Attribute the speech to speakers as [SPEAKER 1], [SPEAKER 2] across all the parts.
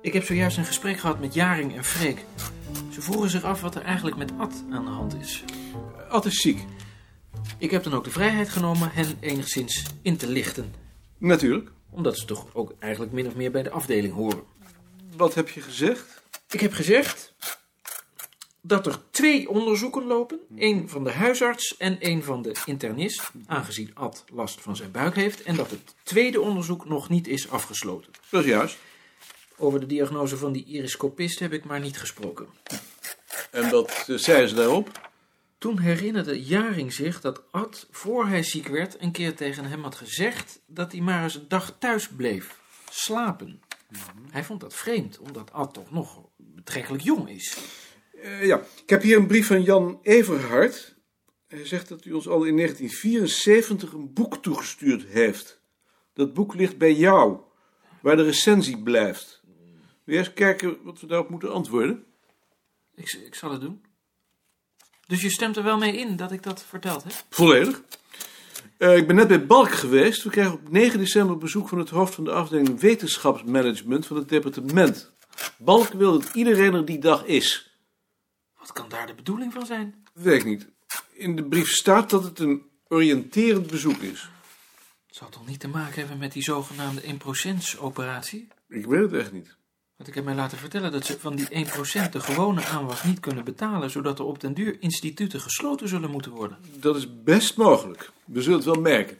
[SPEAKER 1] Ik heb zojuist een gesprek gehad met Jaring en Freek. Ze vroegen zich af wat er eigenlijk met Ad aan de hand is.
[SPEAKER 2] Ad is ziek.
[SPEAKER 1] Ik heb dan ook de vrijheid genomen hen enigszins in te lichten.
[SPEAKER 2] Natuurlijk.
[SPEAKER 1] Omdat ze toch ook eigenlijk min of meer bij de afdeling horen.
[SPEAKER 2] Wat heb je gezegd?
[SPEAKER 1] Ik heb gezegd dat er twee onderzoeken lopen. één van de huisarts en één van de internist. Aangezien Ad last van zijn buik heeft. En dat het tweede onderzoek nog niet is afgesloten.
[SPEAKER 2] Dat is juist.
[SPEAKER 1] Over de diagnose van die iriscopist heb ik maar niet gesproken.
[SPEAKER 2] En wat eh, zei ze daarop?
[SPEAKER 1] Toen herinnerde Jaring zich dat Ad, voor hij ziek werd, een keer tegen hem had gezegd dat hij maar eens een dag thuis bleef, slapen. Hij vond dat vreemd, omdat Ad toch nog betrekkelijk jong is.
[SPEAKER 2] Eh, ja, ik heb hier een brief van Jan Everhard. Hij zegt dat u ons al in 1974 een boek toegestuurd heeft. Dat boek ligt bij jou, waar de recensie blijft. Wil je eens kijken wat we daarop moeten antwoorden?
[SPEAKER 1] Ik, z- ik zal het doen. Dus je stemt er wel mee in dat ik dat verteld heb?
[SPEAKER 2] Volledig. Eh, ik ben net bij Balk geweest. We krijgen op 9 december bezoek van het hoofd van de afdeling wetenschapsmanagement van het departement. Balk wil dat iedereen er die dag is.
[SPEAKER 1] Wat kan daar de bedoeling van zijn?
[SPEAKER 2] Weet ik niet. In de brief staat dat het een oriënterend bezoek is.
[SPEAKER 1] Het zal toch niet te maken hebben met die zogenaamde 1%-operatie?
[SPEAKER 2] Ik weet het echt niet.
[SPEAKER 1] Want ik heb mij laten vertellen dat ze van die 1% de gewone aanwas niet kunnen betalen, zodat er op den duur instituten gesloten zullen moeten worden.
[SPEAKER 2] Dat is best mogelijk. We zullen het wel merken.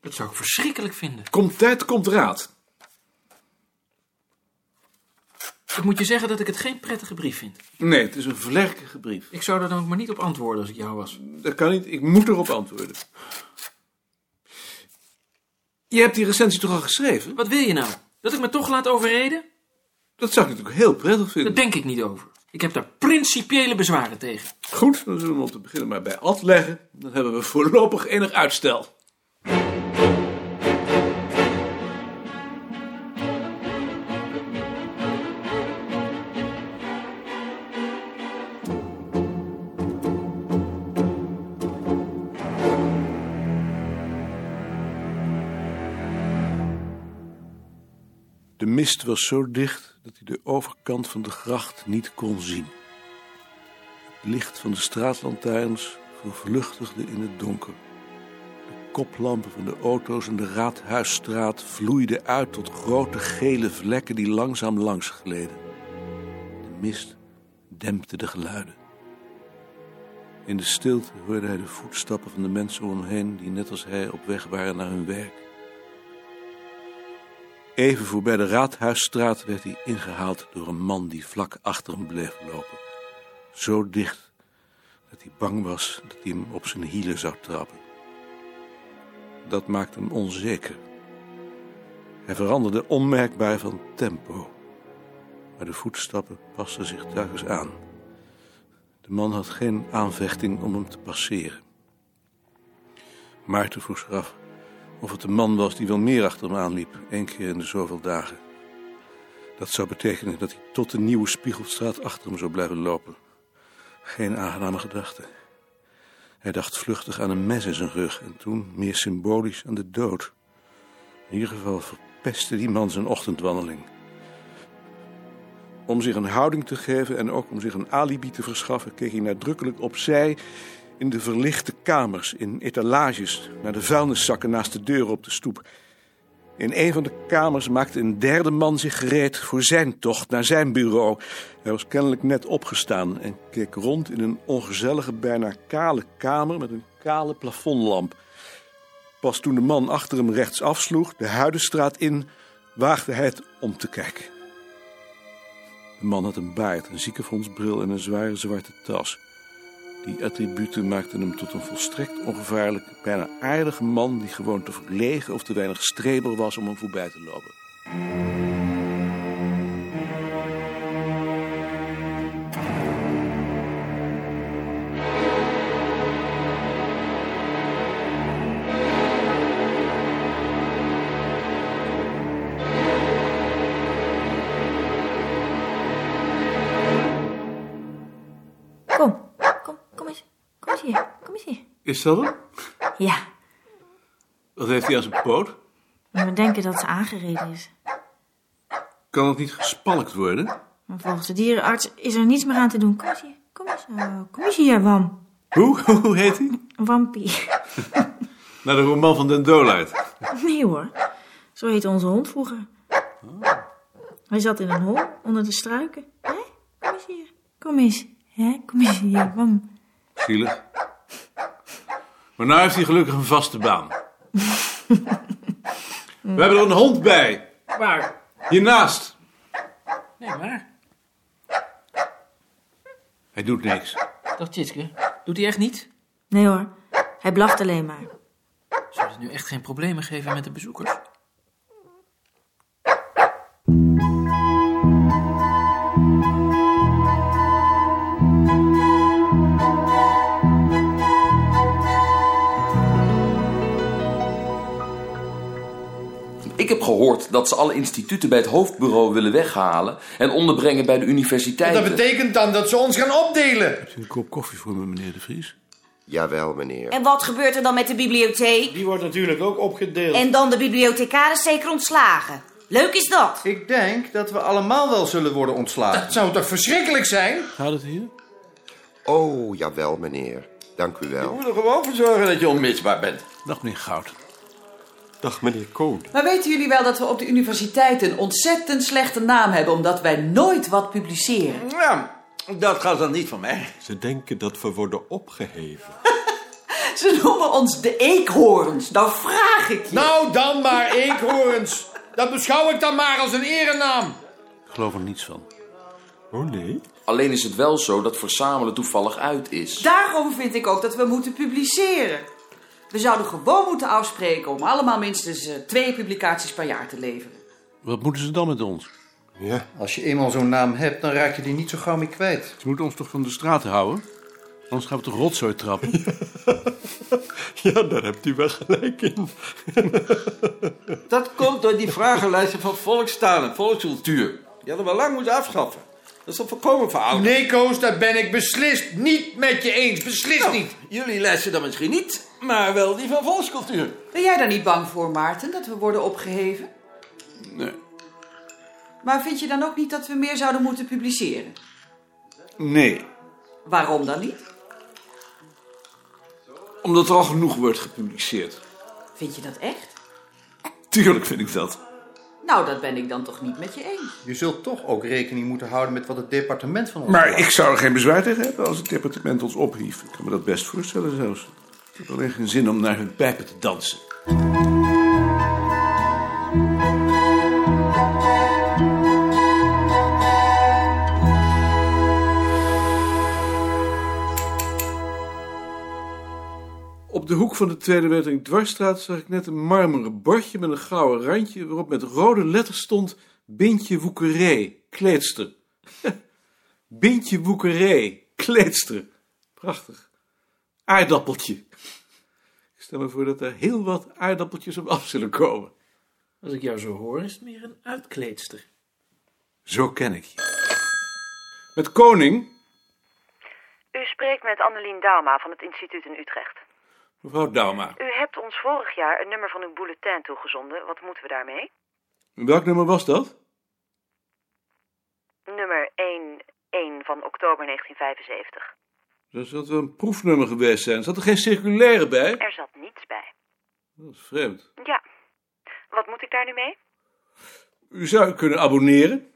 [SPEAKER 1] Dat zou ik verschrikkelijk vinden.
[SPEAKER 2] Komt tijd, komt raad.
[SPEAKER 1] Ik moet je zeggen dat ik het geen prettige brief vind.
[SPEAKER 2] Nee, het is een vlerkige brief.
[SPEAKER 1] Ik zou daar dan ook maar niet op antwoorden als ik jou was.
[SPEAKER 2] Dat kan niet. Ik moet erop antwoorden. Je hebt die recensie toch al geschreven?
[SPEAKER 1] Wat wil je nou? Dat ik me toch laat overreden?
[SPEAKER 2] Dat zou ik natuurlijk heel prettig
[SPEAKER 1] Daar
[SPEAKER 2] vinden.
[SPEAKER 1] denk ik niet over. Ik heb daar principiële bezwaren tegen.
[SPEAKER 2] Goed, dan zullen we om te beginnen maar bij Ad leggen. Dan hebben we voorlopig enig uitstel. De mist was zo dicht dat hij de overkant van de gracht niet kon zien. Het licht van de straatlantaarns vervluchtigde in het donker. De koplampen van de auto's in de Raadhuisstraat vloeiden uit tot grote gele vlekken die langzaam langs gleden. De mist dempte de geluiden. In de stilte hoorde hij de voetstappen van de mensen om hem heen die net als hij op weg waren naar hun werk. Even voorbij de Raadhuisstraat werd hij ingehaald door een man die vlak achter hem bleef lopen. Zo dicht dat hij bang was dat hij hem op zijn hielen zou trappen. Dat maakte hem onzeker. Hij veranderde onmerkbaar van tempo. Maar de voetstappen pasten zich telkens aan. De man had geen aanvechting om hem te passeren. Maarten vroeg zich af of het de man was die wel meer achter hem aanliep, één keer in de zoveel dagen. Dat zou betekenen dat hij tot de nieuwe Spiegelstraat achter hem zou blijven lopen. Geen aangename gedachte. Hij dacht vluchtig aan een mes in zijn rug en toen meer symbolisch aan de dood. In ieder geval verpestte die man zijn ochtendwandeling. Om zich een houding te geven en ook om zich een alibi te verschaffen, keek hij nadrukkelijk opzij in de verlichte kamers, in etalages, naar de vuilniszakken naast de deuren op de stoep. In een van de kamers maakte een derde man zich gereed voor zijn tocht naar zijn bureau. Hij was kennelijk net opgestaan en keek rond in een ongezellige, bijna kale kamer met een kale plafondlamp. Pas toen de man achter hem rechts afsloeg, de Huidenstraat in, waagde hij het om te kijken. De man had een baard, een ziekenfondsbril en een zware zwarte tas. Die attributen maakten hem tot een volstrekt ongevaarlijk, bijna aardige man die gewoon te verlegen of te weinig streber was om hem voorbij te lopen.
[SPEAKER 3] Kom, kom, kom eens. Kom eens hier, kom eens hier.
[SPEAKER 2] Is dat hem?
[SPEAKER 3] Ja,
[SPEAKER 2] Wat heeft hij aan zijn poot?
[SPEAKER 3] maar we denken dat ze aangereden is.
[SPEAKER 4] Kan het niet gespalkt worden?
[SPEAKER 3] Maar volgens de dierenarts is er niets meer aan te doen. Kom eens hier, kom eens, zo, kom eens hier, Wam.
[SPEAKER 4] Hoe? Hoe heet hij?
[SPEAKER 3] Wampie.
[SPEAKER 4] Naar de roman van Den Dolaert.
[SPEAKER 3] Nee hoor, zo heette onze hond vroeger. Hij zat in een hol onder de struiken. Hé, kom eens hier. Kom eens, hè, kom eens hier, Wam.
[SPEAKER 4] Zielig. Maar nu heeft hij gelukkig een vaste baan. We hebben er een hond bij.
[SPEAKER 1] Waar?
[SPEAKER 4] Hiernaast.
[SPEAKER 1] Nee, waar?
[SPEAKER 4] Hij doet niks.
[SPEAKER 1] Dag Tjitske, doet hij echt niet?
[SPEAKER 3] Nee hoor, hij blaft alleen maar.
[SPEAKER 1] Zullen ze nu echt geen problemen geven met de bezoekers?
[SPEAKER 5] Ik heb gehoord dat ze alle instituten bij het hoofdbureau willen weghalen en onderbrengen bij de universiteiten.
[SPEAKER 6] Dat betekent dan dat ze ons gaan opdelen.
[SPEAKER 4] Een kop koffie voor me, meneer De Vries.
[SPEAKER 7] Jawel, meneer.
[SPEAKER 8] En wat gebeurt er dan met de bibliotheek?
[SPEAKER 6] Die wordt natuurlijk ook opgedeeld.
[SPEAKER 8] En dan de bibliothecaris zeker ontslagen. Leuk is dat.
[SPEAKER 6] Ik denk dat we allemaal wel zullen worden ontslagen. Dat zou toch verschrikkelijk zijn?
[SPEAKER 4] Gaat het hier?
[SPEAKER 7] Oh, jawel, meneer. Dank u wel.
[SPEAKER 6] er gewoon voor zorgen dat je onmisbaar bent.
[SPEAKER 4] Dag, meneer Goud.
[SPEAKER 7] Dag, meneer Koon.
[SPEAKER 9] Maar weten jullie wel dat we op de universiteit een ontzettend slechte naam hebben omdat wij nooit wat publiceren?
[SPEAKER 6] Ja, dat gaat dan niet van mij.
[SPEAKER 7] Ze denken dat we worden opgeheven.
[SPEAKER 9] Ze noemen ons de e- eekhoorns. Nou vraag ik je.
[SPEAKER 6] Nou dan maar, eekhoorns. Dat beschouw ik dan maar als een erenaam.
[SPEAKER 4] Ik geloof er niets van.
[SPEAKER 7] Oh, nee?
[SPEAKER 5] Alleen is het wel zo dat verzamelen toevallig uit is.
[SPEAKER 9] Daarom vind ik ook dat we moeten publiceren. We zouden gewoon moeten afspreken om allemaal minstens eh, twee publicaties per jaar te leveren.
[SPEAKER 4] Wat moeten ze dan met ons?
[SPEAKER 7] Ja.
[SPEAKER 6] Als je eenmaal zo'n naam hebt, dan raak je die niet zo gauw meer kwijt.
[SPEAKER 4] Ze moeten ons toch van de straat houden? Anders gaan we toch rotzooi trappen?
[SPEAKER 7] ja, daar hebt u wel gelijk in.
[SPEAKER 10] Dat komt door die vragenlijsten van volkstaal en volkscultuur. Die hadden we lang moeten afschaffen. Dat is al volkomen verouderd.
[SPEAKER 6] Oh. Nee, Koos, daar ben ik beslist niet met je eens. Beslist
[SPEAKER 10] Nou,
[SPEAKER 6] niet.
[SPEAKER 10] Jullie lessen dan misschien niet, maar wel die van volkscultuur.
[SPEAKER 9] Ben jij daar niet bang voor, Maarten, dat we worden opgeheven?
[SPEAKER 4] Nee.
[SPEAKER 9] Maar vind je dan ook niet dat we meer zouden moeten publiceren?
[SPEAKER 4] Nee.
[SPEAKER 9] Waarom dan niet?
[SPEAKER 10] Omdat er al genoeg wordt gepubliceerd.
[SPEAKER 9] Vind je dat echt?
[SPEAKER 10] Tuurlijk vind ik dat.
[SPEAKER 9] Nou, dat ben ik dan toch niet met je eens.
[SPEAKER 6] Je zult toch ook rekening moeten houden met wat het departement van ons
[SPEAKER 2] Maar ik zou er geen bezwaar tegen hebben als het departement ons ophief. Ik kan me dat best voorstellen zelfs. Ik heb alleen geen zin om naar hun pijpen te dansen. Op de hoek van de Tweede Wetering Dwarsstraat zag ik net een marmeren bordje met een gouden randje waarop met rode letters stond Bintje Woekerij, kleedster. Bintje Woekerij, kleedster. Prachtig. Aardappeltje. Ik stel me voor dat er heel wat aardappeltjes op af zullen komen.
[SPEAKER 1] Als ik jou zo hoor, is het meer een uitkleedster.
[SPEAKER 2] Zo ken ik je. Met koning,
[SPEAKER 11] U spreekt met Annelien Dauma van het instituut in Utrecht.
[SPEAKER 2] mevrouw Dauma.
[SPEAKER 11] U hebt ons vorig jaar een nummer van uw bulletin toegezonden. Wat moeten we daarmee?
[SPEAKER 2] Welk nummer was dat?
[SPEAKER 11] Nummer 1-1 van oktober 1975.
[SPEAKER 2] Dat zou wel een proefnummer geweest zijn. Zat er geen circulaire bij?
[SPEAKER 11] Er zat niets bij.
[SPEAKER 2] Dat is vreemd.
[SPEAKER 11] Ja. Wat moet ik daar nu mee?
[SPEAKER 2] U zou kunnen abonneren.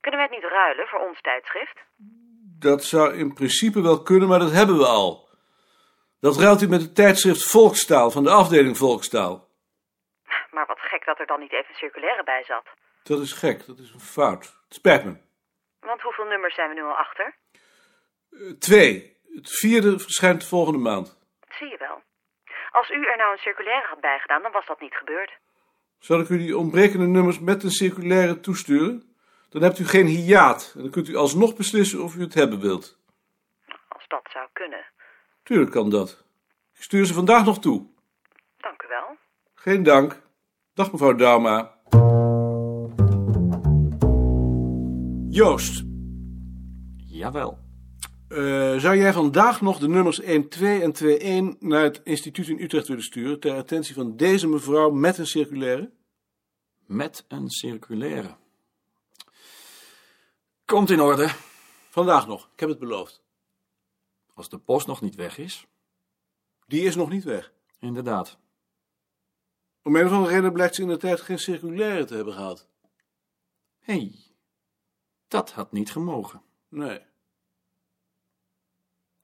[SPEAKER 11] Kunnen we het niet ruilen voor ons tijdschrift?
[SPEAKER 2] Dat zou in principe wel kunnen, maar dat hebben we al. Dat ruilt u met het tijdschrift Volkstaal van de afdeling Volkstaal.
[SPEAKER 11] Maar wat gek dat er dan niet even een circulaire bij zat.
[SPEAKER 2] Dat is gek, dat is een fout. Het spijt me.
[SPEAKER 11] Want hoeveel nummers zijn we nu al achter?
[SPEAKER 2] Eh, twee. Het vierde verschijnt volgende maand.
[SPEAKER 11] Dat zie je wel. Als u er nou een circulaire had bijgedaan, dan was dat niet gebeurd.
[SPEAKER 2] Zal ik u die ontbrekende nummers met een circulaire toesturen? Dan hebt u geen hiaat en dan kunt u alsnog beslissen of u het hebben wilt.
[SPEAKER 11] Als dat zou kunnen.
[SPEAKER 2] Tuurlijk kan dat. Ik stuur ze vandaag nog toe.
[SPEAKER 11] Dank u wel.
[SPEAKER 2] Geen dank. Dag mevrouw Dauma. Joost,
[SPEAKER 5] Jawel.
[SPEAKER 2] eh, zou jij vandaag nog de nummers 12 en 21 naar het instituut in Utrecht willen sturen ter attentie van deze mevrouw met een circulaire?
[SPEAKER 12] Met een circulaire. Komt in orde.
[SPEAKER 2] Vandaag nog, ik heb het beloofd.
[SPEAKER 12] Als de post nog niet weg is.
[SPEAKER 2] Die is nog niet weg.
[SPEAKER 12] Inderdaad.
[SPEAKER 2] Om een of andere reden blijkt ze in de tijd geen circulaire te hebben gehad.
[SPEAKER 12] Hé, hey, dat had niet gemogen.
[SPEAKER 2] Nee.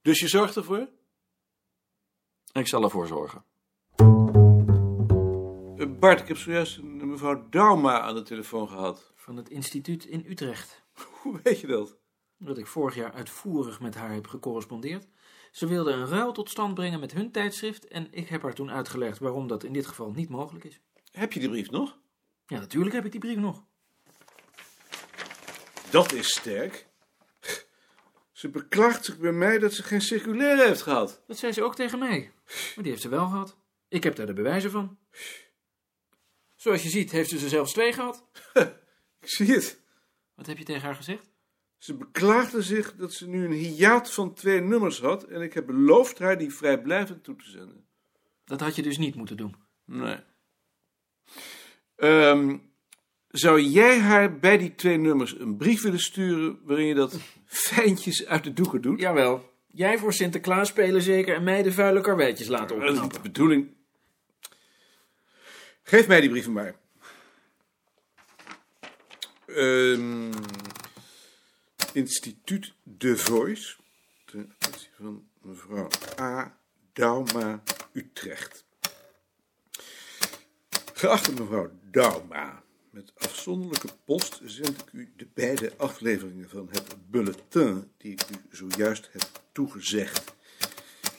[SPEAKER 2] Dus je zorgt ervoor?
[SPEAKER 12] Ik zal ervoor zorgen.
[SPEAKER 2] Eh, Bart, ik heb zojuist een mevrouw Dauma aan de telefoon gehad.
[SPEAKER 1] Van het instituut in Utrecht.
[SPEAKER 2] Hoe weet je dat?
[SPEAKER 1] Omdat ik vorig jaar uitvoerig met haar heb gecorrespondeerd. Ze wilde een ruil tot stand brengen met hun tijdschrift. En ik heb haar toen uitgelegd waarom dat in dit geval niet mogelijk is.
[SPEAKER 2] Heb je die brief nog?
[SPEAKER 1] Ja, natuurlijk heb ik die brief nog.
[SPEAKER 2] Dat is sterk. Ze beklaagt zich bij mij dat ze geen circulaire heeft gehad.
[SPEAKER 1] Dat zei ze ook tegen mij. Maar die heeft ze wel gehad. Ik heb daar de bewijzen van. Zoals je ziet, heeft ze er zelfs twee gehad.
[SPEAKER 2] Ik zie het.
[SPEAKER 1] Wat heb je tegen haar gezegd?
[SPEAKER 2] Ze beklaagde zich dat ze nu een hiaat van twee nummers had en ik heb beloofd haar die vrijblijvend toe te zenden.
[SPEAKER 1] Dat had je dus niet moeten doen.
[SPEAKER 2] Nee. Ehm, zou jij haar bij die twee nummers een brief willen sturen waarin je dat fijntjes uit de doeken doet?
[SPEAKER 1] Jawel. Jij voor Sinterklaas spelen zeker en mij de vuile karweitjes laten
[SPEAKER 2] Dat is niet de
[SPEAKER 1] opknappen.
[SPEAKER 2] bedoeling. Geef mij die brieven maar. Ehm, Instituut De Voice. Ten aanzien van mevrouw A. Dauma, Utrecht. Geachte mevrouw Dauma, met afzonderlijke post zend ik u de beide afleveringen van het bulletin die ik u zojuist heb toegezegd.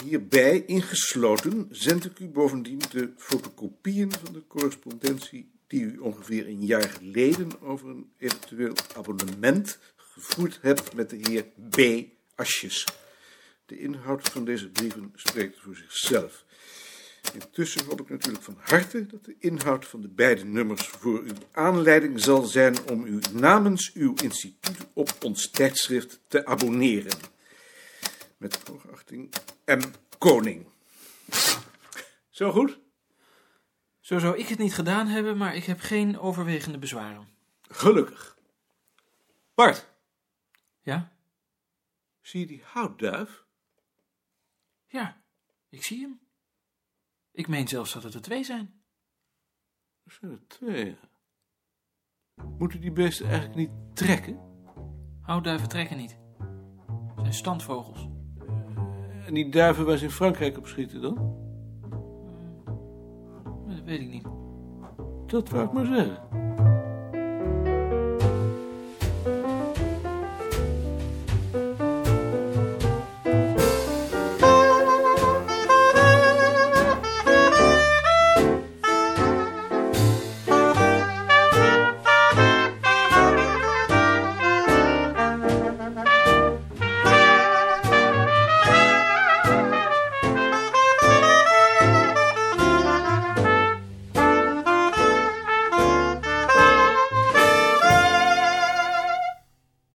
[SPEAKER 2] Hierbij ingesloten zend ik u bovendien de fotocopieën van de correspondentie die u ongeveer een jaar geleden over een eventueel abonnement gevoerd hebt met de heer B. Asjes. De inhoud van deze brieven spreekt voor zichzelf. Intussen hoop ik natuurlijk van harte dat de inhoud van de beide nummers voor u aanleiding zal zijn om u namens uw instituut op ons tijdschrift te abonneren. Met hoogachting M. Koning. Zo goed?
[SPEAKER 1] Zo zou ik het niet gedaan hebben, maar ik heb geen overwegende bezwaren.
[SPEAKER 2] Gelukkig. Bart,
[SPEAKER 1] Ja?
[SPEAKER 2] zie je die houtduif?
[SPEAKER 1] Ja, ik zie hem. Ik meen zelfs dat het er twee zijn.
[SPEAKER 2] Er zijn er twee. Moeten die beesten eigenlijk niet trekken?
[SPEAKER 1] Houtduiven trekken niet. Het zijn standvogels.
[SPEAKER 2] En die duiven waar ze in Frankrijk op schieten dan?
[SPEAKER 1] Maar Dat weet ik niet.
[SPEAKER 2] Dat wou ik maar zeggen.